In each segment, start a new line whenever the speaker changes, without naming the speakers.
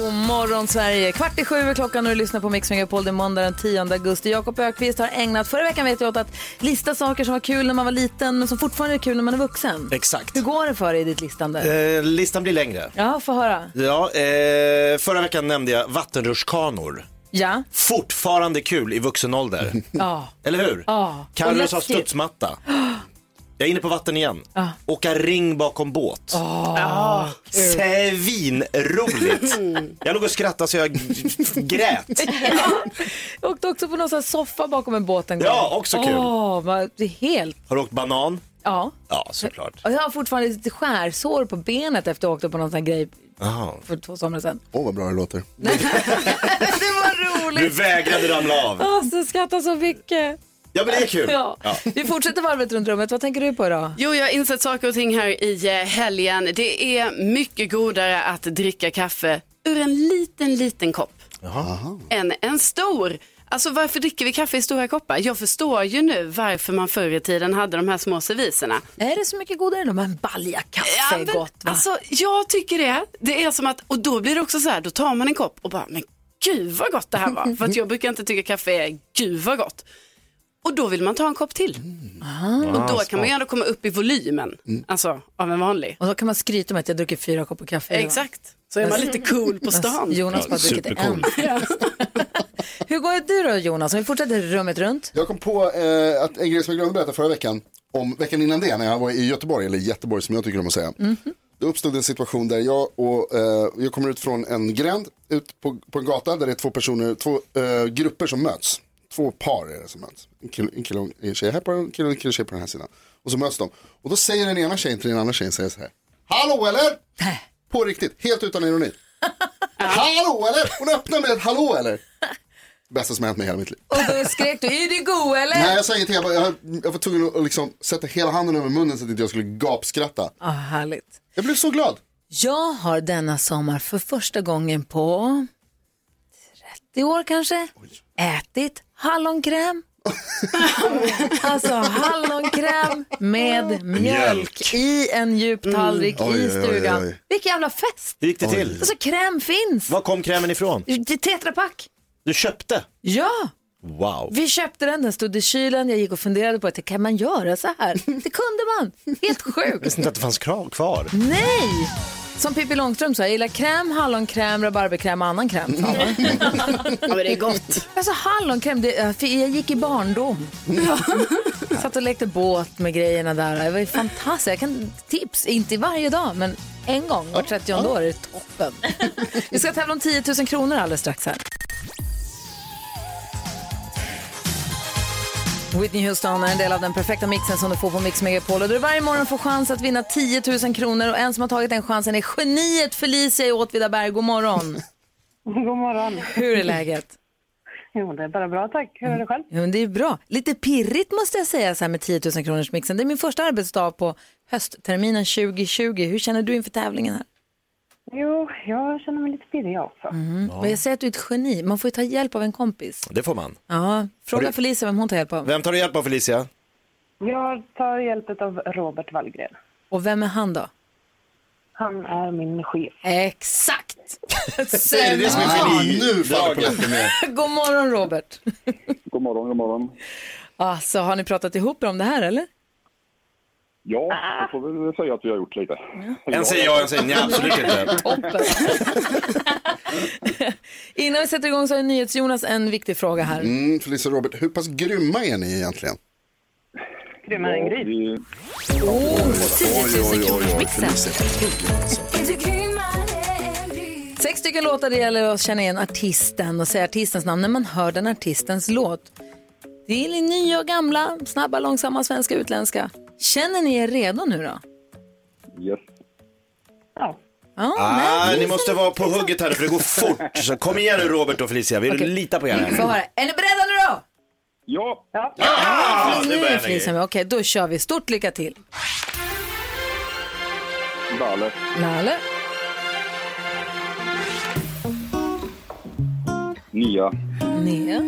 God morgon Sverige! Kvart i sju är klockan och du lyssnar på Mix Megapol. Det är måndag den 10 augusti. Jakob Ökvist har ägnat förra veckan vet jag åt att lista saker som var kul när man var liten men som fortfarande är kul när man är vuxen.
Exakt.
Hur går det för dig i ditt listande?
Eh, listan blir längre.
Ja, få höra.
Ja, eh, förra veckan nämnde jag vattenrutschkanor.
Ja.
Fortfarande kul i vuxen ålder.
Ja.
Eller hur?
Ja.
Carro
Och
sa
läskigt.
studsmatta. Jag är inne på vatten igen. Åka ring bakom båt. Ja. Svinroligt.
Mm.
Jag låg och skrattade så jag g- grät.
Jag åkte också på någon sån här soffa bakom en båt en gång.
Ja, också kul.
Åh, vad, det är helt...
Har du åkt banan?
Ja.
Ja, såklart.
Och jag har fortfarande lite skärsår på benet efter att jag åkte på någon sån här grej
Aha.
för två somrar sedan.
Åh, vad bra det låter.
det var
Du
roligt!
vägrade ramla av.
Alltså, jag skrattar så mycket.
Ja, men det är kul.
Ja. Vi fortsätter varvet runt rummet. Vad tänker du på idag?
Jo, jag har insett saker och ting här i eh, helgen. Det är mycket godare att dricka kaffe ur en liten, liten kopp än en stor. Alltså varför dricker vi kaffe i stora koppar? Jag förstår ju nu varför man förr i tiden hade de här små serviserna.
Är det så mycket godare än de här balja kaffe?
Ja,
är
men,
gott, va?
Alltså, jag tycker det. Det är som att, och då blir det också så här, då tar man en kopp och bara, men gud vad gott det här var. För att jag brukar inte tycka kaffe är, gud vad gott. Och då vill man ta en kopp till. Och då kan man ju ändå komma upp i volymen, alltså av en vanlig.
Och då kan man skryta med att jag dricker fyra koppar kaffe.
Exakt, så är man
Alltså,
lite cool på stan.
Jonas bara druckit en. Hur går det du då Jonas? Om vi fortsätter rummet runt.
Jag kom på eh, att en grej som jag glömde berätta förra veckan, om veckan innan det, när jag var i Göteborg, eller Göteborg som jag tycker om att säga. Det uppstod en situation där jag, och, eh, jag kommer ut från en gränd, ut på, på en gata där det är två personer, två eh, grupper som möts. Två par är det som möts. En kille, en kille och en tjej här på den, en kille och en kille och en tjej på den här sidan. Och så möts de. Och då säger den ena tjejen till den andra tjejen säger så här. Hallå eller? På riktigt, helt utan ironi. Hallå eller? Hon öppnar med ett hallå eller? Bästa som har hänt mig i hela mitt liv.
Och då skrek du, är du god eller?
Nej jag sa ingenting, jag, bara, jag, jag var tvungen att liksom sätta hela handen över munnen så att inte jag skulle gapskratta.
Ah, härligt.
Jag blev så glad.
Jag har denna sommar för första gången på 30 år kanske ätit hallonkräm. alltså hallonkräm med mjölk i en djup tallrik
Mm. Oj,
i
oj, oj,
stugan.
oj.
Vilken jävla fest!
Hur gick det till?
Alltså kräm finns!
Var kom krämen ifrån?
Det är tetrapack.
Du köpte?
Ja,
Wow.
vi köpte den, den stod i kylen, jag gick och funderade på att kan man göra så här? Det kunde man, helt sjukt.
visste inte att det fanns krav kvar.
Nej! Som Pippi Långstrump sa, jag gillar kräm, hallonkräm, rabarberkräm och annan kräm. sa hon.
Ja, men det är gott.
Alltså hallonkräm, det, jag fick- jag gick i barndom. Satt och lekte båt med grejerna där. Det var ju fantastiskt. Jag kan tips, inte varje dag, men en gång var 30 år är det toppen. Vi ska tävla om 10 000 kronor alldeles strax här. Whitney Houston är en del av den perfekta mixen som du får på Mix Megapol. Och du varje morgon får chans att vinna 10 000 kronor. Och en som har tagit den chansen är geniet Felicia i Åtvidaberg. God morgon!
God morgon.
Hur är läget?
Jo, det är bara bra tack. Hur är det själv?
Ja, men det är bra. Lite pirrigt måste jag säga så här med 10 000 kronors mixen. Det är min första arbetsdag på höstterminen 2020. Hur känner du inför tävlingen här?
Jo, jag känner mig lite pirrig jag också.
Men jag säger att du är ett geni. Man får ju ta hjälp av en kompis.
Det får man.
Ja, fråga Felicia vem hon tar hjälp av.
Vem tar du hjälp av Felicia?
Jag tar hjälp av Robert Wallgren.
Och vem är han då?
Han är min chef.
Exakt!
Det är det som är geni.
nu faller polletten ner.
God morgon Robert!
God morgon, god morgon.
Alltså, har ni pratat ihop om det här eller?
Ja, jag får väl säga att vi har gjort lite.
En säger ja, en säger nej, absolut inte.
Toppen! Innan vi sätter igång så har NyhetsJonas en viktig fråga här.
Mm, Felicia och Robert, hur pass grymma är ni egentligen?
Grymmare än gris.
Vi,
Oh, 10 000 kronors mixen!
Felicia.
6 Sex stycken låtar det gäller att känna igen artisten och säga artistens namn när man hör den artistens låt. Det är nya och gamla, snabba, långsamma, svenska, utländska. Känner ni er redo nu då?
Yes.
Ja,
Ah,
men-
ni måste vara på hugget här för det går fort. Så kom igen nu Robert och Felicia, vi litar på er.
Vi får
här.
höra. Är ni beredda nu då?
Ja.
Ah,
Nu
nu
är
börjar
Felicia
ni.
med. Okej, då kör vi. Stort lycka till.
Dale.
Lalle,
Nia.
Nea,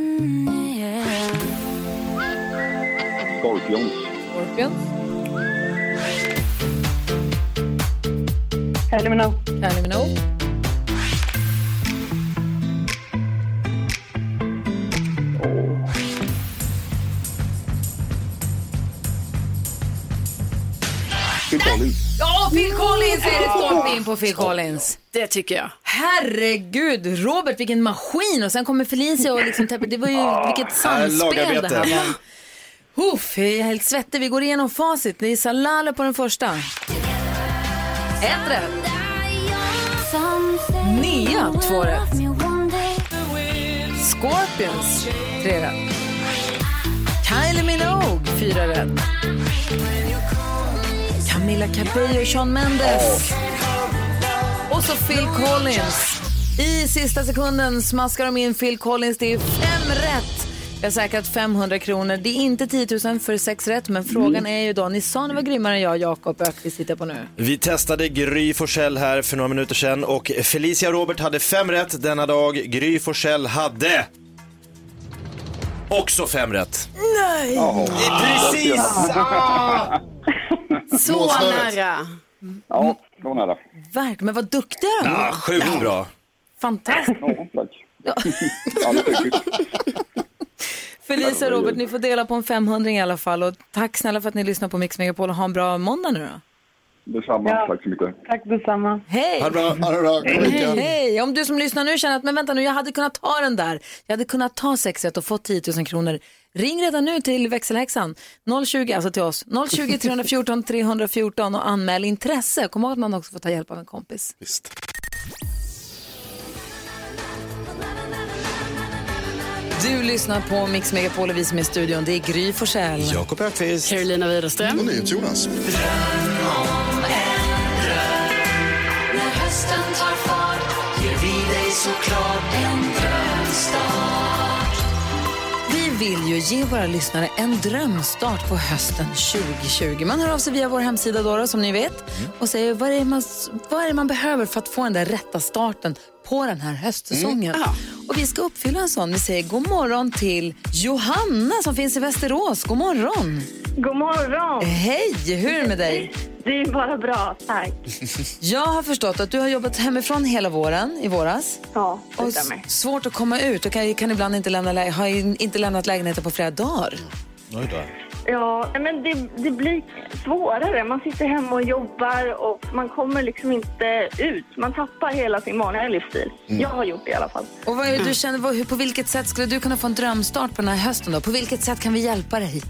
Scorpions.
Orpion,
Kylie Minogue.
Kylie Minogue,
Phil Collins.
Ja, Phil Collins är det stolpe in på Phil Collins.
Det tycker jag.
Herregud, Robert vilken maskin! Och sen kommer Felicia och liksom täpper. Det var ju vilket samspel det
Äh, lagarbete.
här var. Uff, jag är helt svettig. Vi går igenom facit. Ni sa Lale på den första. Ett rätt. Nia, två rätt. Scorpions, tre rätt. Kylie Minogue, fyra rätt. Camila Cabello, Shawn Mendes. Och så Phil Collins. I sista sekunden smaskar de in Phil Collins. Det är fem rätt. Jag har säkrat 500 kronor. Det är inte 10 000 för sex rätt, men frågan är ju då, ni sa ni var grymmare än jag, Jakob Ökvist sitter på nu.
Vi testade Gry Forssell här för några minuter sedan och Felicia och Robert hade fem rätt denna dag. Gry Forssell hade också fem rätt. Nej! Precis!
Så
Blåsnöret.
nära.
Ja, det var nära.
Verkligen, men vad duktiga de är.
Ah, sjukt bra.
Fantastiskt.
Ja, tack. Ja, det är sjukt.
Felicia och Robert, ni får dela på en 500 i alla fall. Och tack snälla för att ni lyssnar på Mix Megapol och ha en bra måndag nu då.
Detsamma.
Ja.
Tack så mycket.
Tack detsamma.
Hej!
Ha det bra.
Ha det bra, god vecka.
Hej, hej! Om du som lyssnar nu känner att men vänta nu, jag hade kunnat ta den där. Jag hade kunnat ta sexet och fått 10 000 kronor. Ring redan nu till växelhäxan 020, alltså till oss, 020 314 314 och anmäl intresse. Kom ihåg att man också får ta hjälp av en kompis.
Visst.
Du lyssnar på Mix Megapol och vi som är i studion, det är Gry Forssell.
Jakob Öqvist.
Carolina Widerström.
Och
Mm.
NyhetsJonas.
Vi vill ju ge våra lyssnare en drömstart på hösten 2020. Man hör av sig via vår hemsida Dora, som ni vet och säger vad är, det man, vad är det man behöver för att få den där rätta starten på den här höstsäsongen. Och vi ska uppfylla en sån. Vi säger god morgon till Johanna som finns i Västerås. God morgon!
God morgon!
Hej, hur är det med dig?
Det är bara bra, tack.
Jag har förstått att du har jobbat hemifrån hela våren, i våras.
Ja, det
Och s-
stämmer.
svårt att komma ut och kan, kan ibland inte lämna, lä- har in- inte lämnat lägenheten på flera dagar.
Ja, nej, men det, det blir svårare. Man sitter hemma och jobbar och man kommer liksom inte ut. Man tappar hela sin vanliga livsstil.
Mm.
Jag har gjort det i alla fall.
Och vad är det du känner, vad, hur, på vilket sätt skulle du kunna få en drömstart på den här hösten då? På vilket sätt kan vi hjälpa dig?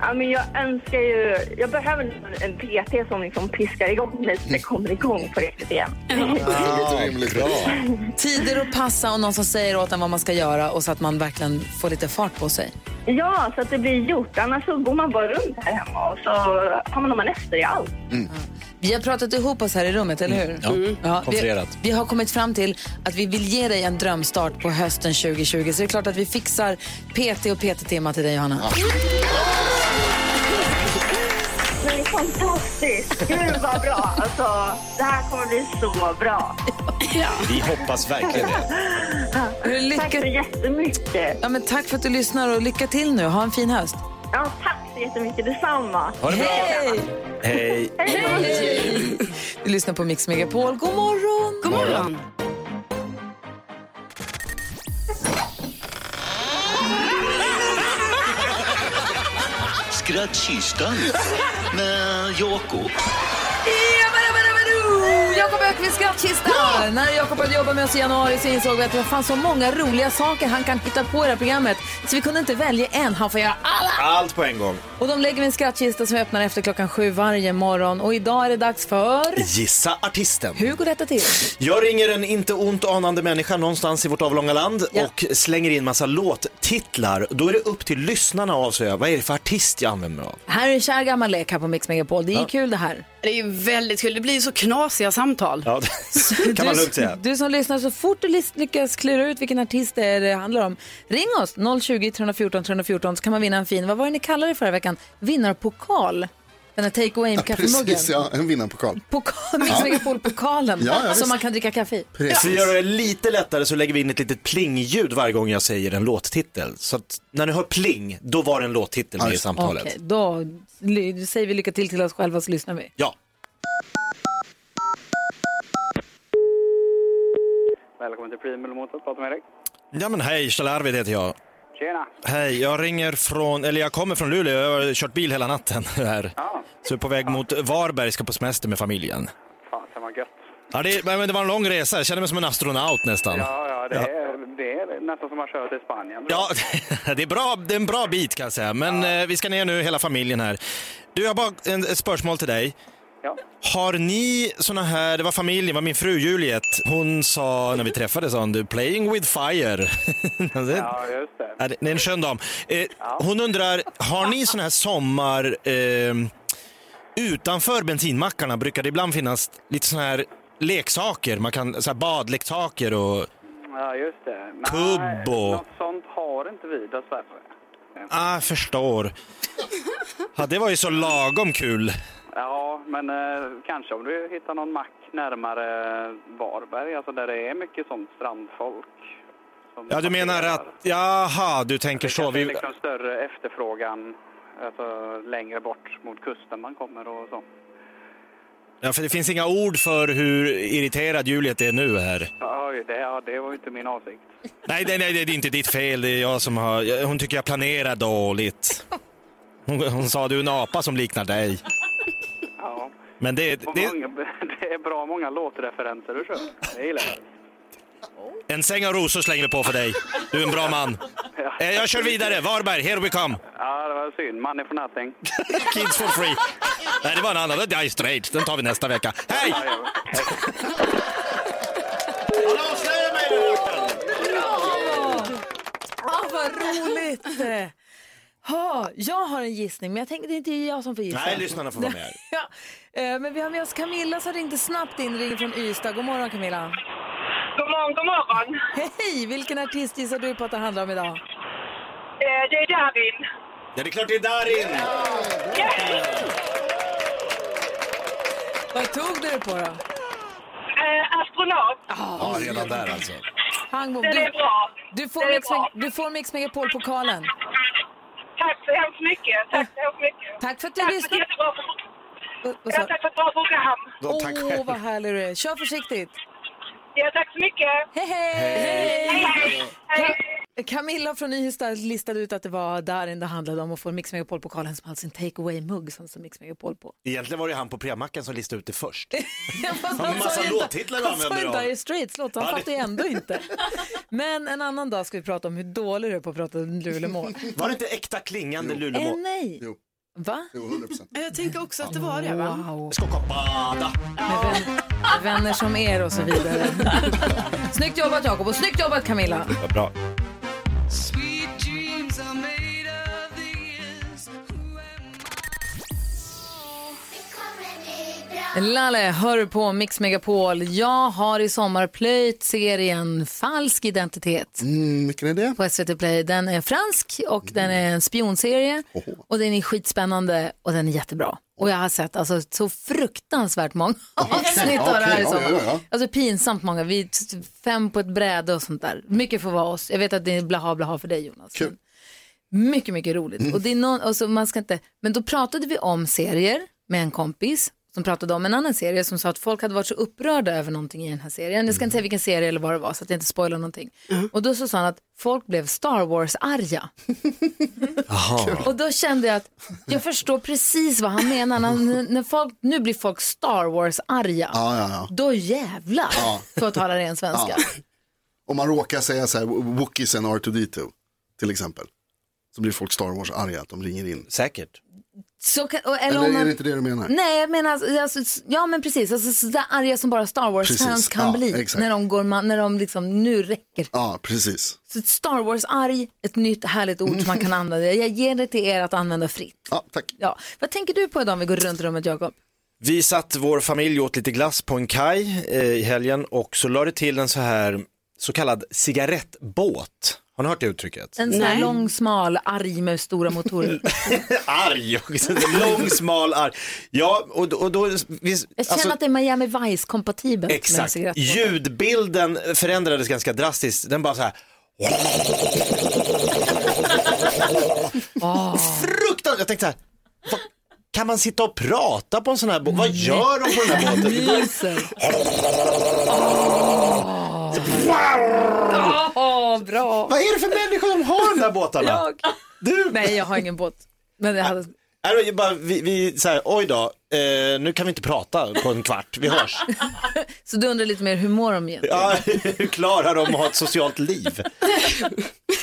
Ja, men jag önskar ju... Jag behöver en- en PT som liksom piskar igång mig så det kommer igång på riktigt igen.
Lite rimligt.
Tider att passa och någon som säger åt en vad man ska göra och så att man verkligen får lite fart på sig.
Ja, så att det blir gjort. Annars så går man bara runt här hemma och så hamnar man efter i allt.
Vi har pratat ihop oss här i rummet, eller hur? Mm. Ja, vi,
konfererat.
vi har kommit fram till att vi vill ge dig en drömstart på hösten 2020. Så det är klart att vi fixar PT och PT-tema till dig, Johanna.
Men fantastiskt! Gud vad bra! Alltså, det här kommer bli så bra.
Vi hoppas verkligen det.
Lycka,
Tack så jättemycket.
ja, men tack för att du lyssnar och lycka till nu. Ha en fin höst.
Ja, tack så jättemycket. Detsamma.
Ha det bra.
Hej!
Hej.
Du lyssnar på Mix Megapol. God morgon!
God morgon.
Skrattkistan med Jakob.
Ja, bada, bada, bada. Jakob Ökvists skrattkista! När Jakob hade jobbat med oss i januari så insåg vi att det fanns så många roliga saker han kan hitta på i det här programmet. Så vi kunde inte välja en, han får göra alla!
Allt på en gång.
Och de lägger vi i en skrattkista som vi öppnar efter klockan sju varje morgon. Och idag är det dags för...
Gissa artisten.
Hur går detta till?
Jag ringer en inte ont anande människa någonstans i vårt avlånga land och slänger in massa låttitlar. Då är det upp till lyssnarna att avslöja vad är det för artist jag använder mig av.
Här är en kär gammal lek här på Mix Megapol. Det är ju
Ja.
kul det här.
Det är ju väldigt kul. Det blir ju så knasiga samtal.
Ja, det kan man lugnt säga.
Du som lyssnar, så fort du lis- lyckas klura ut vilken artist det, är det handlar om, ring oss 020-314 314 så kan man vinna en fin, vad var det ni kallade det förra veckan? Vinnarpokal. Den här take away med kaffemuggen.
Precis, ja, en vinnarpokal.
Pokal, Mix Megapol-pokalen
Ja, ja,
som
visst.
man kan dricka kaffe i.
För att göra det lite lättare så lägger vi in ett litet plingljud varje gång jag säger en låttitel. Så att när ni hör pling, då var det en låttitel med i samtalet.
Okej, då ly- säger vi lycka till till oss själva så lyssnar vi.
Ja.
Välkommen till Primul Motors, pratar med Erik.
Ja men hej, Kjell Arvid heter jag.
Tjena!
Hej, jag ringer från, eller jag kommer från Luleå, jag har kört bil hela natten här. Så jag är på väg mot Varberg, ska på semester med familjen.
Fan, det var gött.
Ja, det, men det var en lång resa, jag känner mig som en astronaut nästan.
Ja, ja, det, Är, det är nästan som att köra till Spanien.
Ja, det är, bra, det är en bra bit kan jag säga. Men eh, vi ska ner nu, hela familjen här. Du, jag har bara en, ett spörsmål till dig. Har ni såna här, det var familjen, det var min fru Juliet, hon sa när vi träffades, sa hon, du, playing with fire. ja,
just det.
Ja, det, det är en skön dam. Eh, Hon undrar, har ni såna här sommar... Eh, utanför bensinmackarna brukar det ibland finnas lite såna här leksaker, man kan, så här badleksaker och...
Ja, just det. Nej,
Kubb och-
Något sånt har inte vi dessvärre.
Ah, förstår. Ja, det var ju så lagom kul.
Ja, men eh, kanske om du hittar någon mack närmare Varberg, alltså där det är mycket sånt strandfolk.
Ja, du menar att... Jaha, du tänker så.
Det är
Vi,
liksom större efterfrågan alltså, längre bort mot kusten man kommer och så.
ja, för det finns inga ord för hur irriterad Juliet är nu här.
Ja, det, ja, det var ju inte min avsikt.
Nej, nej, nej, det är inte ditt fel. Det är jag som har... Hon tycker jag planerar dåligt. Hon, hon sa du är en apa som liknar dig.
Ja.
Men det,
Och
det är
Många, det är bra många låtreferenser du kör. Det gillar jag.
en säng av rosor slänger vi på för dig. Du är en bra man. Eh, Jag kör vidare. Varberg, here we come.
Ja, det var synd. Money for nothing.
Kids for free. Nej, det var en annan. Det är Dire Straits. Den tar vi nästa vecka. Hej!
Ah, vad roligt! Ha, jag har en gissning, men jag tänker det är inte jag som får gissa.
Nej, lyssnarna får vara med här.
ja, eh, men vi har med oss Camilla som ringde snabbt in, ringer från Ystad. God morgon Camilla!
God morgon, god morgon.
Hej! Vilken artist gissar du på att det handlar om idag?
Eh, Det är Darin.
Ja, det är klart det är Darin!
Vad tog du det på då?
Eh, Astronaut.
Ja, redan där alltså.
Hangbom,
Den
du,
är bra.
Du
Den
får,
är
Mix,
bra.
du får Mix Megapol-pokalen.
Tack så hemskt mycket. Tack så hemskt mycket.
Tack för
Tack
att du
för ett
lyssnade.
jättebra
Vad- vad sa
Ja,
du?
tack för ett bra program.
Åh, vad härlig du är. Kör försiktigt.
Ja, tack så mycket.
Hej, hej! Ka- Camilla från Nyhista listade ut att det var Darin det handlade om och får Mix Megapol-pokalen som hade sin take away-mugg som står Mix Megapol på.
Egentligen var det han på premacken som listade ut det först.
Fast
Har vi massa
sa ju
låttitlar vi
han sa
använder
ju
av?
Dire Straits-låt, så han
Ja, det-
fattar ju ändå inte. Men en annan dag ska vi prata om hur dålig du är på att prata Lulemål.
Var det inte äkta klingande
Eh,
Lulemål?
nej. Va?
Jo, 100%.
Jag tänker också att det var det, va?
Wow.
Skocka och bada.
Vänner som er och så vidare. snyggt jobbat Jakob och snyggt jobbat Camilla.
Vad bra.
Lalle, hör du på Mix Megapol. Jag har i sommar plöjt serien Falsk identitet.
Mm, vilken är det?
På SVT Play. Den är fransk och den är en spionserie. Och den är skitspännande och den är jättebra. Och jag har sett alltså, så fruktansvärt många avsnitt av det här i
Okej, ja,
sommar.
ja, ja.
Alltså pinsamt många. Vi är fem på ett bräde och sånt där. Mycket får vara oss. Jag vet att det är blaha blaha för dig Jonas.
Kul.
Mm.
Mycket, mycket roligt. Och det är någon, alltså, man ska inte, men då pratade vi om serier med en kompis. som pratade om en annan serie som sa att folk hade varit så upprörda över någonting i den här serien. Jag ska inte säga vilken serie eller vad det var så att jag inte spoilar någonting.
Mm.
Och då så sa han att folk blev Star Wars-arga. Och då kände jag att jag förstår precis vad han menar. När, när folk, nu blir folk Star Wars-arga.
Ja, ja, ja.
Då jävlar,
Ja.
för att tala ren svenska.
Ja. Om man råkar säga så här, Wookies and R2D2 till exempel. Så blir folk Star Wars arga att de ringer in.
Säkert.
Så kan, och-
Eller,
om man-
är det inte det du menar?
Nej, jag menar, alltså, alltså, s- ja men precis, alltså, sådär arga som bara Star Wars-fans
Precis,
kan
ja,
bli
exakt.
när de går, man, när de liksom, nu räcker
Ja, precis.
Så ett Star Wars-arg, ett nytt härligt ord som man kan använda. Jag ger det till er att använda fritt.
Ja, tack.
Ja. Vad tänker du på idag om vi går runt i rummet, Jakob?
Vi satt vår familj och åt lite glass på en kaj eh, i helgen och så lade det till en så här så kallad cigarettbåt. Har ni hört det uttrycket?
En sån här lång, smal, arg med stora motorer.
arg, lång, smal, arg. Ja, och, då- och då... Vi, alltså,
Jag
Alltså-
känner att det är Miami Vice-kompatibelt med en
Exakt.
cigarett.
Ljudbilden förändrades ganska drastiskt. Den bara så här.
Ah.
Fruktansvärt. Jag tänkte så här. "Vad- Kan man sitta och prata på en sån här båt? Vad gör de på den här båten? Det går-
Åh, bra!
Vad är det för människor som har de där båtarna?
Jag.
Du?
Nej, jag har ingen båt. Men jag hade...
Nej, det var ju bara, vi, vi så här, oj då, eh, nu kan vi inte prata på en kvart, vi hörs.
Så du undrar lite mer hur mår de egentligen?
Ja, hur klarar de att ha ett socialt liv?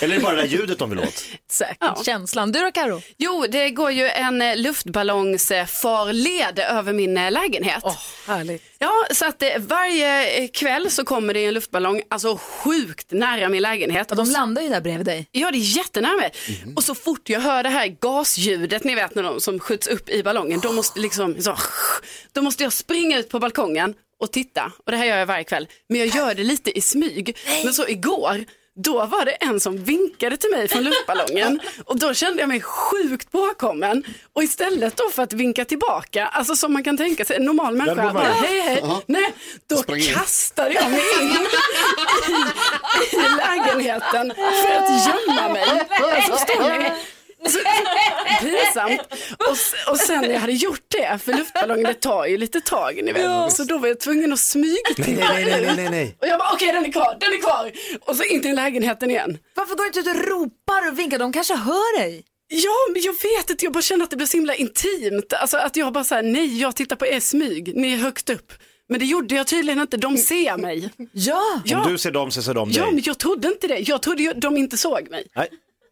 Eller är det bara det där ljudet de vill åt?
Säkert. Känslan. Du då Karo?
Jo, det går ju en eh, luftballongsfarled över min eh, lägenhet.
härligt.
Ja, så att eh, varje eh, kväll så kommer det en luftballong, alltså sjukt nära min lägenhet.
Ja, de landar ju där bredvid dig.
Ja, det är jättenära mig.
Mm.
Och så fort jag hör det här gasljudet, ni vet när de som skjuts upp i ballongen, då måste, liksom, så, då måste jag springa ut på balkongen och titta. Och det här gör jag varje kväll. Men jag gör det lite i smyg. Men så igår, då var det en som vinkade till mig från luftballongen och då kände jag mig sjukt påkommen. Och istället då för att vinka tillbaka, alltså som man kan tänka sig, en normal människa,
går man
bara,
in.
hej hej,
Ja.
nej, då
Sprang in.
kastade jag mig in i, i lägenheten för att gömma mig. Förstår ni? Så- Pinsamt. Och, s- och sen när jag hade gjort det, för luftballongen det tar ju lite tag ni vet.
Ja.
Så då var jag tvungen att smyga
Nej, nej, nej, nej, nej, nej.
Och jag bara okej den är kvar, den är kvar. Och så in till lägenheten igen.
Varför går du inte ut och ropar och vinkar? De kanske hör dig.
Ja, men jag vet inte, jag bara känner att det blir så himla intimt. Alltså att jag bara säger nej, jag tittar på er smyg, ni är högt upp. Men det gjorde jag tydligen inte, de ser mig.
Ja,
ja.
Om du ser dem så ser de dig.
Ja, men jag trodde inte det. Jag trodde ju, de inte såg mig.
Nej.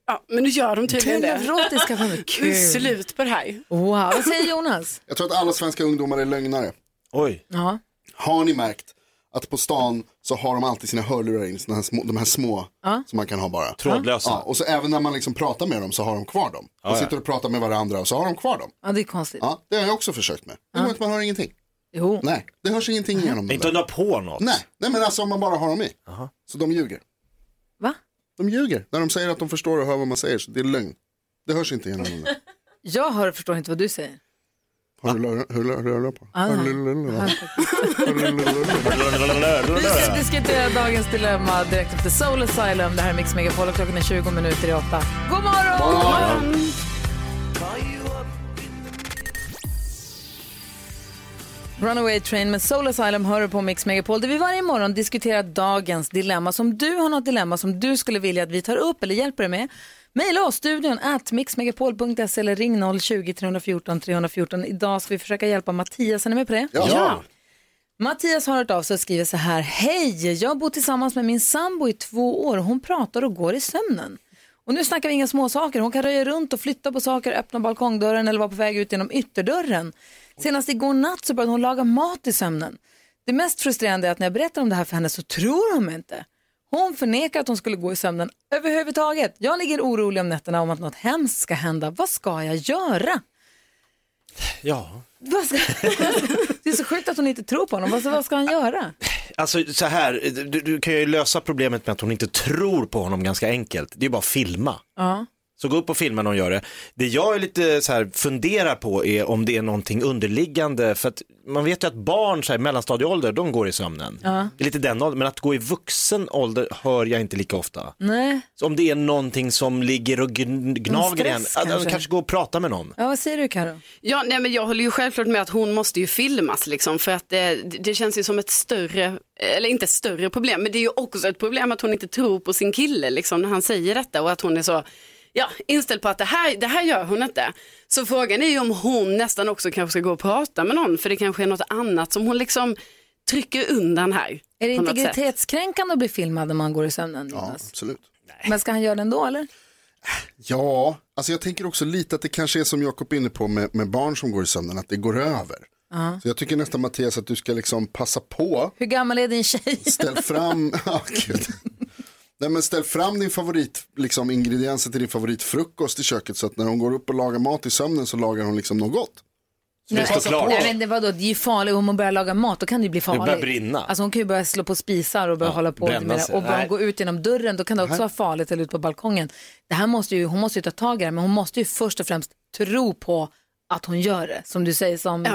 Ja, men nu gör de tydligen
Det
det.
är neurotiska fan.
Nu är det slut på det här.
Wow, vad säger Jonas?
Jag tror att alla svenska ungdomar är lögnare.
Oj.
Ja.
Har ni märkt att på stan så har de alltid sina hörlurar in, såna här små, de här små
Ja.
som man kan ha bara.
Trådlösa.
Ja, och så även när man liksom pratar med dem så har de kvar dem.
Ja,
De
ja.
sitter och pratar med varandra och så har de kvar dem.
Ja, det är konstigt.
Ja, det har jag också försökt med. Det går inte, man hör ingenting.
Jo.
Nej, det hörs ingenting genom
Inte om du har på något.
Nej, nej men alltså om man bara har dem i. Så de ljuger.
Va?
De ljuger. När de säger att de förstår och hör vad man säger så det är lögn. Det hörs inte genom dem.
Jag hör och förstår inte vad du säger.
Har du lör- hur lör- rör du på?
Ah, nej. Vi ska diskutera dagens dilemma direkt efter Soul Asylum. Det här är Mix Megapol och klockan är 20 minuter i åtta. God morgon!
God morgon!
Runaway Train med Soul Asylum hör du på Mix Megapol där vi varje morgon diskuterar dagens dilemma. Så om du har något dilemma som du skulle vilja att vi tar upp eller hjälper dig med, mejla oss studion at mixmegapol.se eller ring 020-314 314. Idag ska vi försöka hjälpa Mattias, är ni med på det? Mattias har hört av sig och skriver så här. Hej, jag bor tillsammans med min sambo i två år. Hon pratar och går i sömnen. Och nu snackar vi inga småsaker. Hon kan röja runt och flytta på saker, öppna balkongdörren eller vara på väg ut genom ytterdörren. Senast igår natt så började hon laga mat i sömnen. Det mest frustrerande är att när jag berättar om det här för henne så tror hon mig inte. Hon förnekar att hon skulle gå i sömnen överhuvudtaget. Jag ligger orolig om nätterna om att något hemskt ska hända. Vad ska jag göra?
Ja.
Vad ska... Det är så sjukt att hon inte tror på honom. Vad ska- Vad ska han göra?
Alltså så här, du, du kan ju lösa problemet med att hon inte tror på honom ganska enkelt. Det är ju bara att filma.
Ja.
Så gå upp och filma när hon gör det. Det jag är lite så här funderar på är om det är någonting underliggande för att man vet ju att barn så här, i mellanstadieålder, de går i sömnen.
Ja.
Det är lite den åldern, men att gå i vuxen ålder hör jag inte lika ofta.
Nej.
Så om det är någonting som ligger och gn- gnager i en,
stress
att- att
kanske.
kanske gå och prata med någon.
Ja, vad säger du Karo?
Ja, nej, men jag håller ju självklart med att hon måste ju filmas liksom för att det, det känns ju som ett större, eller inte ett större problem, men det är ju också ett problem att hon inte tror på sin kille liksom när han säger detta och att hon är så ja, inställd på att det här, det här gör hon inte. Så frågan är ju om hon nästan också kanske ska gå och prata med någon för det kanske är något annat som hon liksom trycker undan här.
Är det
på något sätt.
integritetskränkande att bli filmad när man går i sömnen?
Ja, absolut.
Men ska han göra det ändå eller?
Ja, alltså jag tänker också lite att det kanske är som Jakob är inne på med, med barn som går i sömnen, att det går över.
Ja.
Så jag tycker nästan Mattias att du ska liksom passa på,
Hur gammal är din tjej?
ställ fram, Ja, gud. Nej, men ställ fram din favorit, liksom ingredienser till din favoritfrukost i köket så att när hon går upp och lagar mat i sömnen så lagar hon liksom något gott. Så
Nej,
du passar på.
Alltså, Nej, men det, vadå, det är ju farligt, om hon börjar laga mat då kan det ju bli farligt.
börjar bränna.
Alltså hon kan ju börja slå på spisar och börja
Ja,
hålla på
bränna
med det.
sig.
Och börja
Nej.
gå ut genom dörren, då kan det också
Nej.
vara farligt, eller ut på balkongen. Det här måste ju, hon måste ju ta tag i det, men hon måste ju först och främst tro på att hon gör det, som du säger, som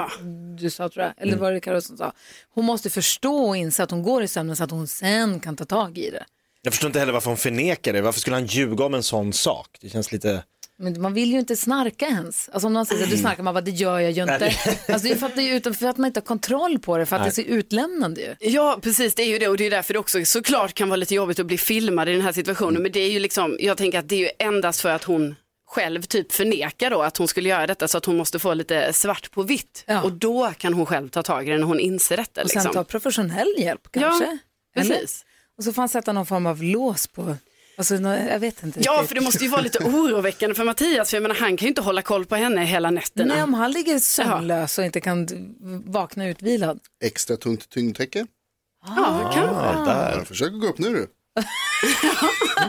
du sa tror jag, eller
Mm.
var det Karo som sa. Hon måste förstå och inse att hon går i sömnen så att hon sen kan ta tag i det.
Jag förstår inte heller varför hon förnekar det. Varför skulle han ljuga om en sån sak? Det känns lite...
Men man vill ju inte snarka ens. Alltså om någon säger att
Mm.
du snarkar, man bara det gör jag ju inte.
Nej,
Alltså det är för att, det är utan, för att man inte har kontroll på det, för att
Nej.
det ser utlämnande ju.
Ja, precis, det är ju det och det är därför det också såklart kan vara lite jobbigt att bli filmad i den här
Mm.
situationen. Men det är ju liksom, jag tänker att det är ju endast för att hon själv typ förnekar då att hon skulle göra detta så att hon måste få lite svart på vitt. Och då kan hon själv ta tag i det när hon inser detta.
Och sen
liksom.
ta professionell hjälp kanske?
precis.
Och så får han sätta någon form av lås på, alltså, nå- jag vet inte
Ja,
riktigt.
för det måste ju vara lite oroväckande för Mattias, för jag menar han kan ju inte hålla koll på henne hela nätterna.
Nej, om han ligger sömnlös och inte kan d- vakna utvilad.
Extra tungt tyngdtäcke.
Ja, kanske.
där. Försök att gå upp nu du.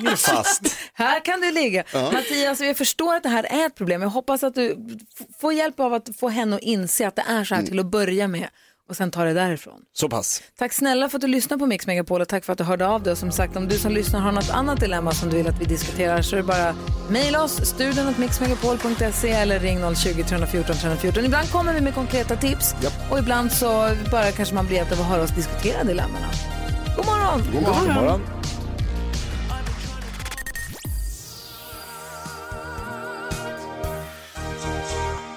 Nu är fast.
Här kan du ligga.
Ja.
Mattias, jag förstår att det här är ett problem. Jag hoppas att du f- får hjälp av att få henne att inse att det är
Mm.
så här till att börja med och sen ta det därifrån.
Så pass.
Tack snälla för att du lyssnar på Mix Megapol och tack för att du hörde av dig. Och som sagt, om du som lyssnar har något annat dilemma som du vill att vi diskuterar så är det bara mejla oss, studion mixmegapol.se eller ring 020 314 314. Ibland kommer vi med konkreta tips och ibland så bara kanske man blir hjälpt av att höra oss diskutera dilemmana. God morgon!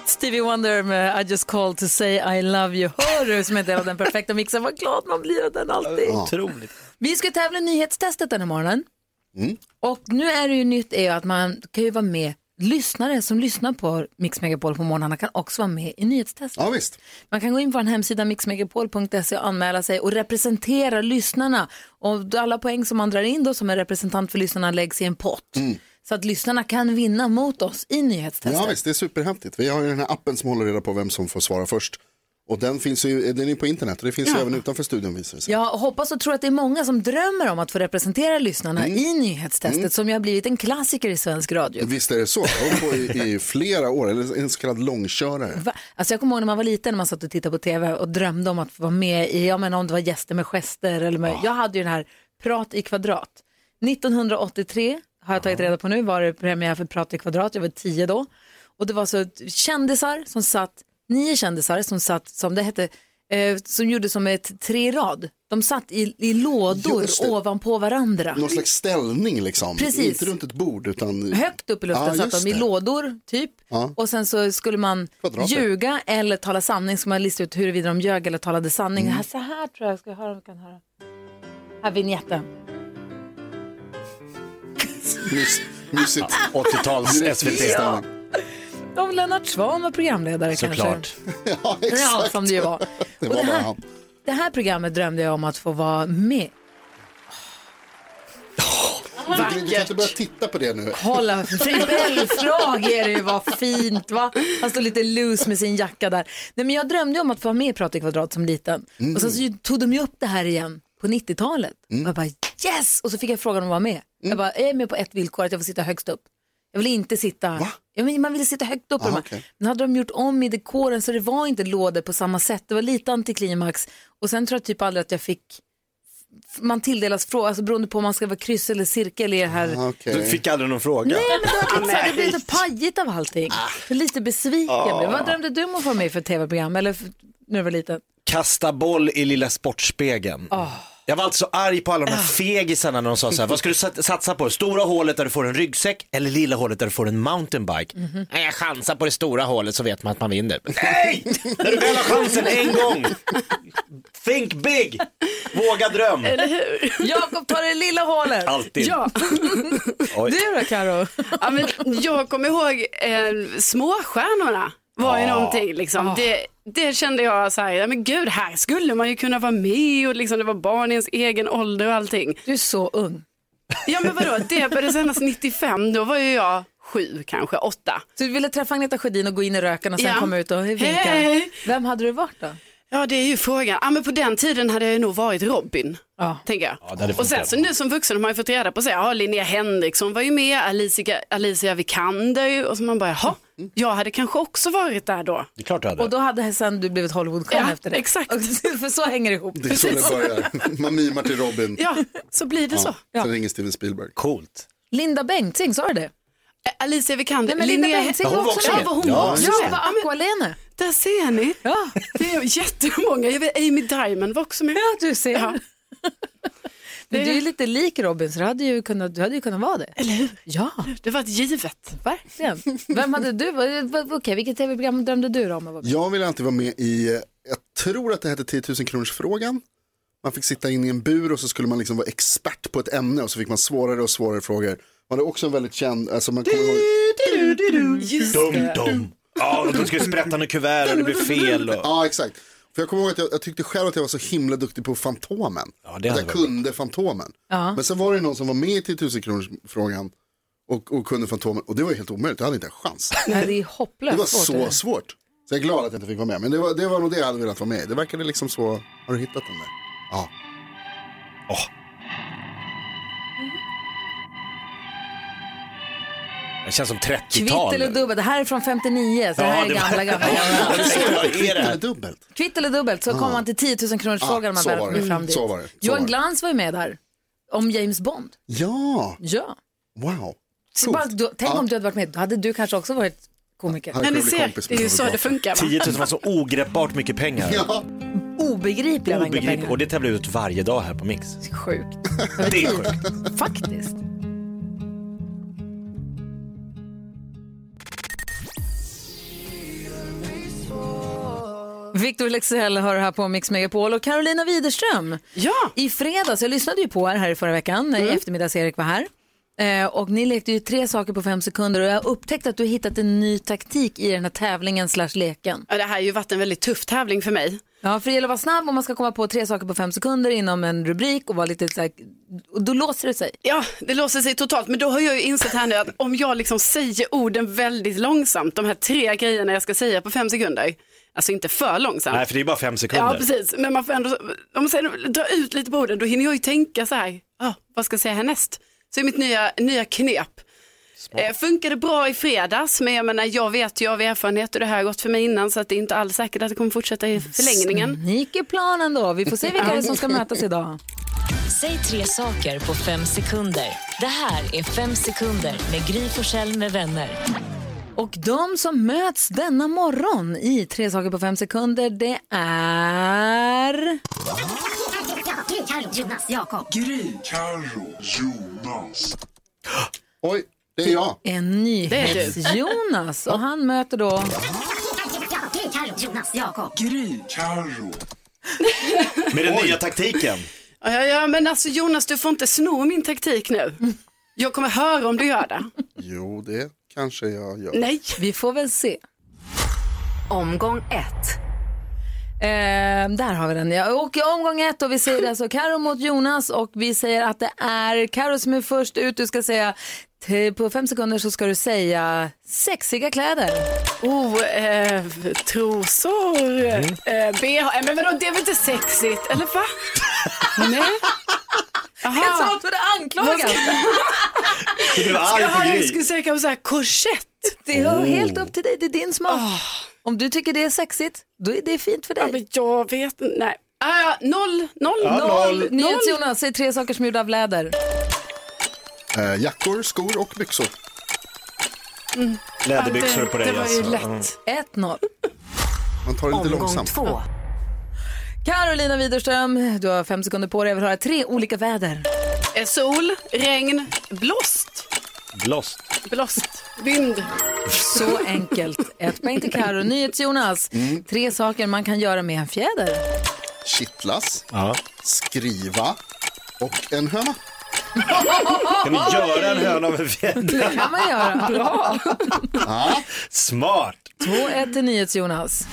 Stevie Wonder med I just called to say I love you. Hör du som är en del av den perfekta mixen. Vad glad man blir av den alltid.
Otroligt.
Vi ska tävla i nyhetstestet den här morgonen.
Mm.
Och nu är det ju nytt är ju att man kan ju vara med Lyssnare som lyssnar på Mix Megapol på morgnarna kan också vara med i nyhetstestet.
Ja, visst.
Man kan gå in på en hemsida mixmegapol.se och anmäla sig och representera lyssnarna. Och alla poäng som man drar in då som en representant för lyssnarna läggs i en pott. Så att lyssnarna kan vinna mot oss i nyhetstestet.
Mm. Ja visst, det är superhäftigt. Vi har ju den här appen som håller reda på vem som får svara först. Och den finns ju, den är ju på internet och det finns ju
Ja.
även utanför studion visar det sig.
Jag hoppas och tror att det är många som drömmer om att få representera lyssnarna
Mm.
i nyhetstestet som ju har blivit en klassiker i svensk radio.
Visst är det så, jag har hållit på i, i flera år, eller en så kallad långkörare.
Va? Alltså jag kommer ihåg när man var liten när man satt och tittade på tv och drömde om att få vara med i, jag menar om det var gäster med gester eller
Ah.
med, jag hade ju den här Prat i kvadrat. 1983 har jag
Ah.
tagit reda på nu var det premiär för Prat i kvadrat, jag var tio då. Och det var så ett- kändisar som satt, nio kändisar som satt, som det hette, eh, som gjorde som ett tre i rad. De satt i, i lådor
Just det.
ovanpå varandra.
Någon slags ställning liksom,
Precis.
inte runt ett bord utan...
Högt upp i luften
Ja,
satt
just
de i
det.
lådor, typ.
Ja.
Och sen så skulle man
Kvadrater.
ljuga eller tala sanning, så man listade ut huruvida de ljög eller talade sanning.
Mm.
Här, så här tror jag, ska jag höra om vi kan höra. Här, vignetten.
Mys, mysigt.
80-tals
Direkt
SVT.
inställning.
Om Lennart Svan var programledare kanske.
Såklart.
ja,
Ja, som det ju var.
Det
Och
var
det
bara
här-
han.
Det här programmet drömde jag om att få vara med.
Du, du kan inte börja titta på det nu.
Kolla, fribellfrag är det ju, vad fint va? Han står lite loose med sin jacka där. Nej men jag drömde om att få vara med i Prata i kvadrat som liten.
Mm.
Och sen så tog de ju upp det här igen på 90-talet. Och jag bara yes! Och så fick jag frågan om att vara med.
Mm.
Jag bara, jag är med på ett villkor, att jag får sitta högst upp. Jag vill inte sitta... Ja, men man ville sitta högt upp. på
Aha,
de här.
okej.
Nu hade de gjort om i dekoren så det var inte lådor på samma sätt. Det var lite antiklimax. Och sen tror jag typ aldrig att jag fick man tilldelas frågor, alltså beroende på om man ska vara kryss eller cirkel i det här.
Du fick aldrig någon fråga.
Nej, men det, var liksom, det blev lite pajigt av allting. Lite besviken
Ah.
blev jag. Vad drömde du om att vara med i för tv-program? Eller f- när du var liten?
Kasta boll i lilla sportspegeln. Jag var alltså arg på alla de här fegisarna när de sa så här, vad ska du sat- satsa på? Stora hålet där du får en ryggsäck eller lilla hålet där du får en mountainbike? Nej, jag chansar på det stora hålet så vet man att man vinner. Nej! När du väl har chansen en gång. Think big! Våga dröm!
Eller hur? Jakob tar det lilla hålet.
Alltid.
Ja.
Oj.
Du då Karo?
ja, men Jag kommer ihåg eh, småstjärnorna var ju
Ja. Ah.
någonting. Liksom.
Ja.
Det, det kände jag så här, ja, men gud här skulle man ju kunna vara med och liksom, det var barn i ens egen ålder och allting.
Du är så ung.
Ja men vadå, det började sändas 95, då var ju jag sju kanske, åtta.
Så du ville träffa Agneta Sjödin och gå in i röken och sen
Ja.
komma ut och vinka?
Hej.
Vem hade du varit då?
Ja det är ju frågan, ja, men på den tiden hade jag ju nog varit Robin. Tänker jag.
det hade
och sen
funkat.
så nu som vuxen har man ju fått reda på sig, ja Linnea Henriksson var ju med, Alicia, Alicia Vikander ju, och så man bara, jaha, jag hade kanske också varit där då.
Det är klart du
Och då hade sen du blivit Hollywoodstjärna
Ja,
efter det? Exakt. För så hänger det ihop.
Det är så det börjar. Man mimar till Robin.
Ja, så blir det så.
Ja. Sen ringer Steven Spielberg.
Coolt.
Linda Bengtzing, sa du det?
Eh, Alicia Vikander.
Nej, men Linda
Linnea-
Bengtzing
Ja, hon
var
var
också
också
med.
med. Ja, hon var
ja,
också med.
var Aqualene.
Där ser ni.
Ja.
Det är jättemånga. Jag vet, Amy Diamond var också med.
Ja, du ser. Men
Det-
du är ju lite lik Robin, så du hade ju kunnat, du hade ju kunnat vara det.
Eller hur?
Ja.
Det var ett givet.
Verkligen. Vem hade du? vad- vad- Okej, vilket tv-program drömde du om att vara med
Jag vill alltid vara med i, eh, jag tror att det hette 10 000 kronors frågan. Man fick sitta in i en bur och så skulle man liksom vara expert på ett ämne och så fick man svårare och svårare frågor. Man hade också en väldigt känd, alltså man kommer ihåg...
Just
Dum, dum. Ja, och då ska du sprätta något kuvert och det blir fel. Och...
Ja, exakt. För jag kommer ihåg att jag, jag tyckte själv att jag var så himla duktig på Fantomen.
det
att
hade
jag
varit
kunde Fantomen.
Ja.
Men sen var det någon som var med i 10 000 kronors frågan och, och kunde Fantomen och det var ju helt omöjligt, jag hade inte en chans.
Nej, det är
Det
hopplöst
var
svårt.
så svårt. Så jag är glad att jag inte fick vara med. Men det var, det var nog det jag hade velat vara med i. Det verkade liksom så, har du hittat den där? Ja.
Det känns som
Kvitt
30-tal.
eller dubbelt, det här är från 59, så det här är
var-
gamla, gamla,
Ja,
gamla.
det är så. Vad är det här?
dubbelt.
Kvitt eller dubbelt, så kom man till 10 000 kronors frågan om man
så
väl
var
kom
det.
fram dit.
Så var det. Så
Johan
var det.
Glans var ju med där, om James Bond.
Ja.
Ja.
Wow.
Så bara, du, tänk om du hade varit med, då hade du kanske också varit komiker.
Ja, ni kunnat bli ser, kompis med det är ju så det
funkar.
10 000 var så ogreppbart mycket pengar.
Ja.
Obegripliga mängder
Obegripligt.
pengar.
Och det tävlar ut varje dag här på Mix.
Sjukt.
Det är sjukt.
Faktiskt. Victor Lexell hör här på Mix Megapol och Carolina Widerström.
Ja.
I fredags, jag lyssnade ju på er här i förra veckan när eftermiddags-Erik var här. Eh, och ni lekte ju tre saker på fem sekunder och jag upptäckte att du hittat en ny taktik i den här tävlingen slash leken.
Ja, det här har ju varit en väldigt tuff tävling för mig.
Ja, för det gäller att vara snabb och man ska komma på tre saker på fem sekunder inom en rubrik och vara lite så här, och då låser det sig.
Ja, det låser sig totalt. Men då har jag ju insett här nu att om jag liksom säger orden väldigt långsamt, de här tre grejerna jag ska säga på fem sekunder, alltså inte för långsamt.
Nej, för det är bara fem sekunder.
Ja, precis. Men man får ändå, om man säger, dra ut lite på orden, då hinner jag ju tänka så här, ah, vad ska jag säga härnäst? Så är mitt nya, nya knep. Eh, funkade bra i fredags, men jag menar, jag vet ju av erfarenhet hur det här har gått för mig innan, så att det är inte alls säkert att det kommer fortsätta
Mm.
i förlängningen.
Sneaky plan ändå. Vi får se vilka det är som ska mötas idag.
Säg tre saker på fem sekunder. Det här är Fem sekunder med Gry Forssell med vänner.
Och de som möts denna morgon i Tre saker på fem sekunder, det är...
Gry, Carro, Jonas, Jakob. Gry, Carro, Jonas.
Oj, det är jag.
En nyhets-Jonas. Och han möter då...
Gry, Carro, Jonas, Jakob. Gry, Carro.
Med den nya taktiken.
Ja, ja, ja, men alltså Jonas, du får inte sno min taktik nu. Jag kommer höra om du gör det.
Jo, det kanske jag gör.
Nej.
Vi får väl se.
Omgång ett.
Ehm, där har vi den. Ja, och i omgång ett och vi säger det alltså Karo mot Jonas och vi säger att det är Karo som är först ut. Du ska säga, t- på fem sekunder så ska du säga sexiga kläder.
Oh, eh, trosor,
Mm.
eh, bh, eh, men vadå, det är väl inte sexigt, eller va? Nej.
Jag sa att du hade anklagat.
Så du var
Ska jag
arg
ha-
på
jag
Gry.
skulle säga kanske så här korsett.
Det är helt upp till dig, det är din smak. Om du tycker det är sexigt, då är det fint för dig.
men jag vet inte. Nej. Ah, ja, noll, noll,
Noll.
noll, noll.
NyhetsJonas, säg tre saker som är gjorda av läder.
Eh, jackor, skor och byxor.
Mm.
Läderbyxor på dig, Det var ju alltså. lätt. Mm.
1-0.
Man tar det lite
Omgång
långsamt.
två. Carolina Widerström, du har fem sekunder på dig. Jag vill höra tre olika väder.
Eh, Sol, regn, blåst.
Blåst.
Blåst. Vind.
Så enkelt. Ett poäng till Karo. NyhetsJonas,
Mm.
tre saker man kan göra med en fjäder.
Kittlas, skriva och en höna.
Kan du göra en höna med fjädrar?
Det kan man göra. Bra.
Smart!
2-1 till NyhetsJonas.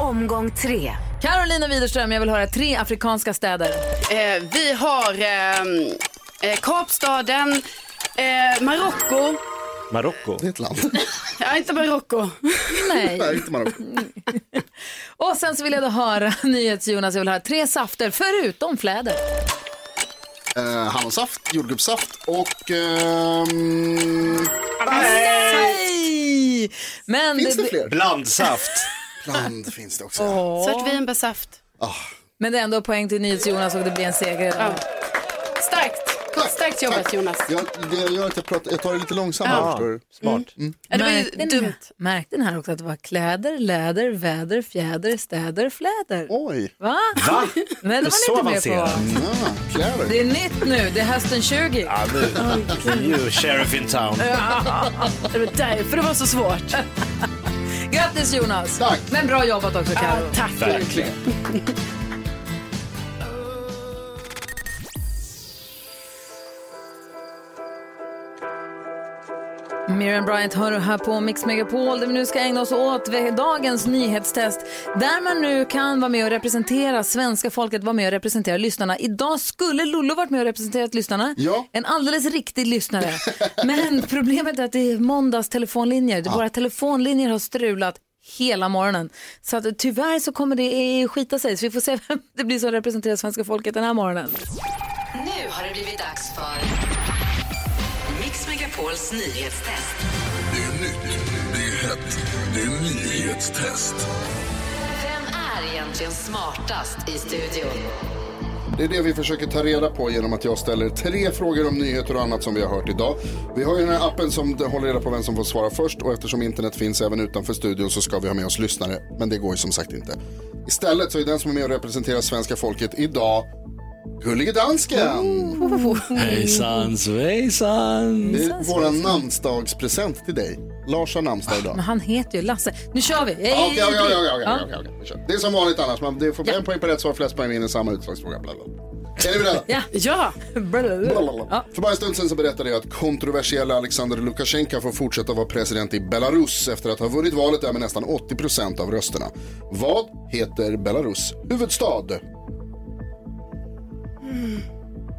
Omgång tre.
Carolina Widerström, jag vill höra tre afrikanska städer.
Eh, vi har ehm, eh, Kapstaden, eh, Marocko.
Marocko.
Det är ett land.
Ja, inte Marocko.
Nej.
inte Marocko.
Och sen så vill jag då höra NyhetsJonas, jag vill höra tre safter förutom fläder.
Eh, hallonsaft, jordgubbssaft och... ehm,
Nej! Men
Finns det fler?
Blandsaft.
Bland finns det också. Ah.
Åh.
Svartvinbärsaft.
Men det är ändå poäng till NyhetsJonas och det blir en seger.
Starkt. Starkt jobbat Jonas.
Jag, det gör att jag, pratar, jag tar det lite långsammare.
Ja.
förstår du?
Smart.
Ja, det var ju
Märkte ni-
dumt.
Märkte ni här också att det var kläder, läder, väder, fjäder, städer, fläder?
Oj! Ah,
Va?
Va?
Nej, det var ni inte med på.
Kläder.
Det är nytt nu, det är hösten 20.
Ja, nu. You sheriff in town.
Det var därför det var så svårt. Grattis Jonas! Tack! Men bra jobbat också Karo. tack!
Verkligen.
Miriam Bryant hör du här på Mix Megapol där vi nu ska ägna oss åt ve- dagens nyhetstest där man nu kan vara med och representera svenska folket, vara med och representera lyssnarna. Idag skulle Lollo varit med och representerat lyssnarna.
Ja.
En alldeles riktig lyssnare. Men problemet är att det är måndags telefonlinjer. Våra telefonlinjer har strulat hela morgonen. Så att, tyvärr så kommer det eh, skita sig. Så vi får se vem det blir som representerar svenska folket den här morgonen.
Nu har det blivit dags för Mix Megapols nyhetstest.
Det är nytt, det är hett, det är nyhetstest.
Vem är egentligen smartast i studion?
Det är det vi försöker ta reda på genom att jag ställer tre frågor om nyheter och annat som vi har hört idag. Vi har ju den här appen som håller reda på vem som får svara först och eftersom internet finns även utanför studion så ska vi ha med oss lyssnare. Men det går ju som sagt inte. Istället så är den som är med och representerar svenska folket idag Gullige Dansken!
Hejsan svejsan!
Det är vår namnsdagspresent till dig. Lars har namnsdag idag.
Men han heter ju Lasse. Nu kör vi!
Ja, Okej, okej, okej, okej, okej, okej, okej. Vi kör. Det är som vanligt annars. Man det får en poäng per rätt svar, flest poäng vinner samma utslagsfråga. Bla, bla. Är ni beredda?
Ja.
ja.
För bara en stund sedan så berättade jag att kontroversiella Alexander Lukasjenko får fortsätta vara president i Belarus efter att ha vunnit valet där med nästan 80 procent av rösterna. Vad heter Belarus huvudstad?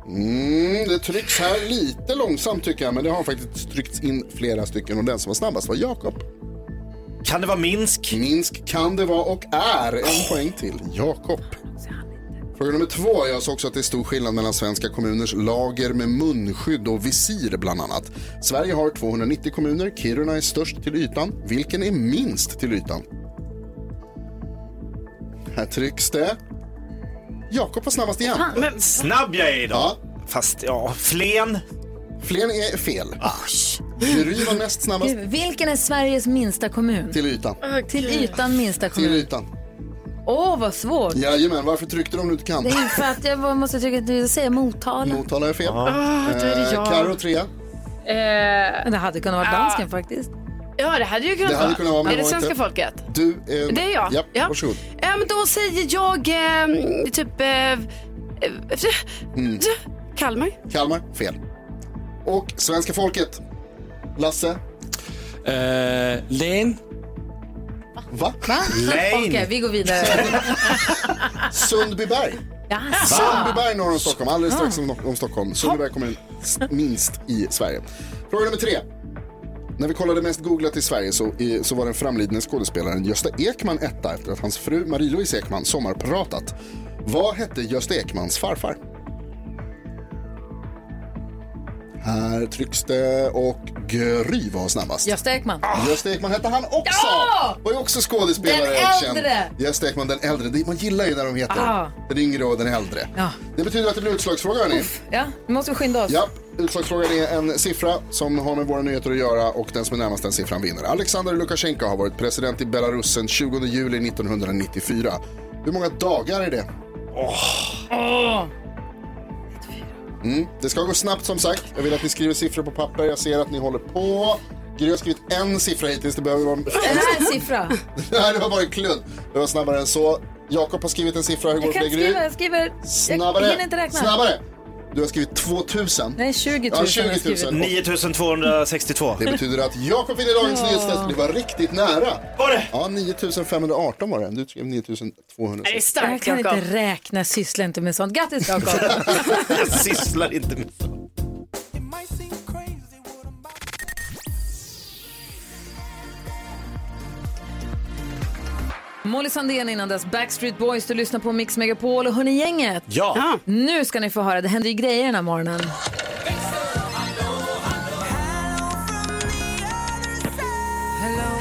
Mm, det trycks här lite långsamt tycker jag, men det har faktiskt tryckts in flera stycken och den som var snabbast var Jakob.
Kan det vara Minsk?
Minsk kan det vara och är. En poäng till Jakob. Fråga nummer två. Jag sa också att det är stor skillnad mellan svenska kommuners lager med munskydd och visir bland annat. Sverige har 290 kommuner. Kiruna är störst till ytan. Vilken är minst till ytan? Här trycks det. Jakob var snabbast igen.
Men snabb jag är idag. Fast ja, Flen.
Flen är fel. Gry var näst snabbast
Gud, vilken är Sveriges minsta kommun?
till ytan.
Till ytan minsta
Till
kommun.
ytan.
Åh, vad svårt.
Jajamän, varför tryckte de nu inte kan?
Det är ju för att jag måste tycka att du säger Motala.
Motala är fel. Eh,
Ah, då är det jag.
Karo trea.
Men det hade kunnat vara
ja.
dansken faktiskt.
Ja, det hade ju kunnat
Det hade
vara.
kunnat vara, men
är det
det var
svenska
inte.
folket?
Du är...
Det är jag.
Ja,
Ja.
varsågod.
Ja, men då säger jag eh, typ eh, eh,
Mm.
Kalmar.
Kalmar, fel. Och svenska folket. Lasse?
Eh, län.
Va?
Okej, vi går vidare.
Sundbyberg.
Jaså.
Sundbyberg norr om Stockholm, alldeles strax om, om Stockholm. Sundbyberg kommun s- minst i Sverige. Fråga nummer tre. När vi kollade mest googlat i Sverige så, i, så var den framlidne skådespelaren Gösta Ekman etta efter att hans fru Marie-Louise Ekman sommarpratat. Vad hette Gösta Ekmans farfar? Här trycks det och Gry var snabbast.
Gösta Ekman.
Gösta Ekman hette han också.
Ah. Ja!
Var ju också skådespelare.
Den
och känd.
äldre.
Gösta Ekman, den äldre. Det- Man gillar ju när de heter
Ah.
den yngre och den äldre.
Ja.
Det betyder att det blir utslagsfråga hörni.
Ja, nu måste vi skynda oss.
Ja, utslagsfrågan är en siffra som har med våra nyheter att göra och den som är närmast den siffran vinner. Alexander Lukasjenko har varit president i Belarus sedan 20 juli 1994. Hur många dagar är det?
Åh!
Mm. Det ska gå snabbt som sagt. Jag vill att ni skriver siffror på papper. Jag ser att ni håller på. Gry har skrivit en siffra hittills. Det behöver vara...
Det här är en siffra.
Nej, det var bara en kludd. Det var snabbare än så. Jakob har skrivit en siffra. Hur går
Jag
det
kan
för dig,
inte
Gry?
skriva, jag skriver...
Snabbare.
Jag hinner inte räkna.
Snabbare. Du har skrivit 2000.
Nej, 20 000
Ja, 20 000.
har jag skrivit.
9262.
Det betyder att Jakob vinner dagens
Ja.
nyhetstest. Det var riktigt nära. Var det? Ja, 9518 var det. Du skrev 9200.
Är det
Jag
starkt,
kan
Jakob?
inte räkna, syssla inte med sånt. Grattis Jakob!
Jag sysslar inte med sånt.
Molly Sandén innan dess, Backstreet Boys, du lyssnar på Mix Megapol och hörni gänget.
Ja. Ja.
Nu ska ni få höra, det händer ju grejer den här morgonen.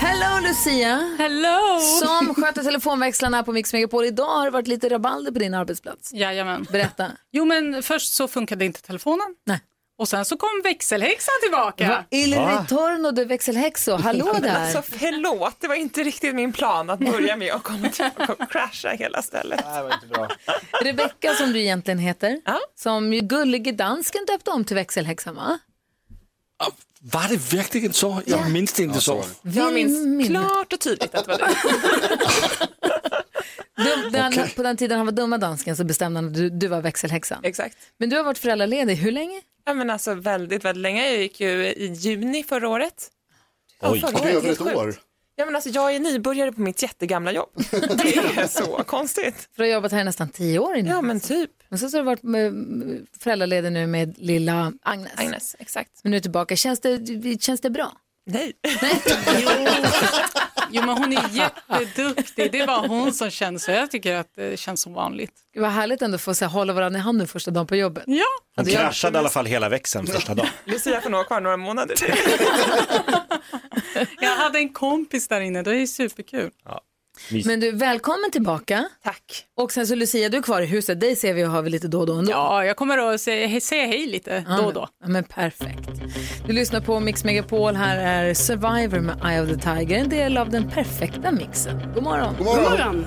Hello Lucia!
Hello!
Som sköter telefonväxlarna på Mix Megapol. Idag har det varit lite rabalder på din arbetsplats.
Jajamän.
Berätta.
Jo, men först så funkade inte telefonen.
Nej.
Och sen så kom växelhäxan tillbaka.
Va? Ilri Torno de växelhäxo, hallå
Men
där!
Alltså, förlåt, det var inte riktigt min plan att börja med att komma tillbaka och crasha hela stället.
Rebecka som du egentligen heter, som ju gullige dansken döpte om till växelhäxan va?
Var det verkligen så? Jag minns det inte så.
Jag minns klart
och tydligt att det var
du. Den, På den tiden han var dumma dansken så bestämde han att du, du var växelhäxan.
Exakt.
Men du har varit föräldraledig hur länge?
Ja, men alltså väldigt, väldigt länge. Jag gick ju i juni förra året.
Oj,
förra
det är
året,
över ett
helt sjukt.
år.
Ja, men alltså, jag är nybörjare på mitt jättegamla jobb. Det är så konstigt.
För du har jobbat här i nästan tio år innan. Ja men typ. Men sen så har du varit med, med föräldraledig nu med lilla Agnes.
Agnes, exakt.
Men nu är du tillbaka, känns det, känns det bra?
Nej.
Jo, men hon är jätteduktig. Det var hon som kände så. Jag tycker att det känns som vanligt.
Gud, vad härligt ändå att få så här, hålla varandra i handen första dagen på jobbet.
Ja.
Hon kraschade i alla fall hela växeln första dagen.
Lucia får nog ha kvar några månader till.
Jag hade en kompis där inne. Det är ju superkul.
Men du, välkommen tillbaka.
Tack.
Och sen så Lucia, du är kvar i huset. Dig ser vi och hör vi lite då och då ändå.
Ja, jag kommer att säga, säga hej lite då och då.
Ja, men perfekt. Du lyssnar på Mix Megapol. Här är Survivor med Eye of the Tiger. En del av den perfekta mixen. God morgon.
God morgon. God morgon.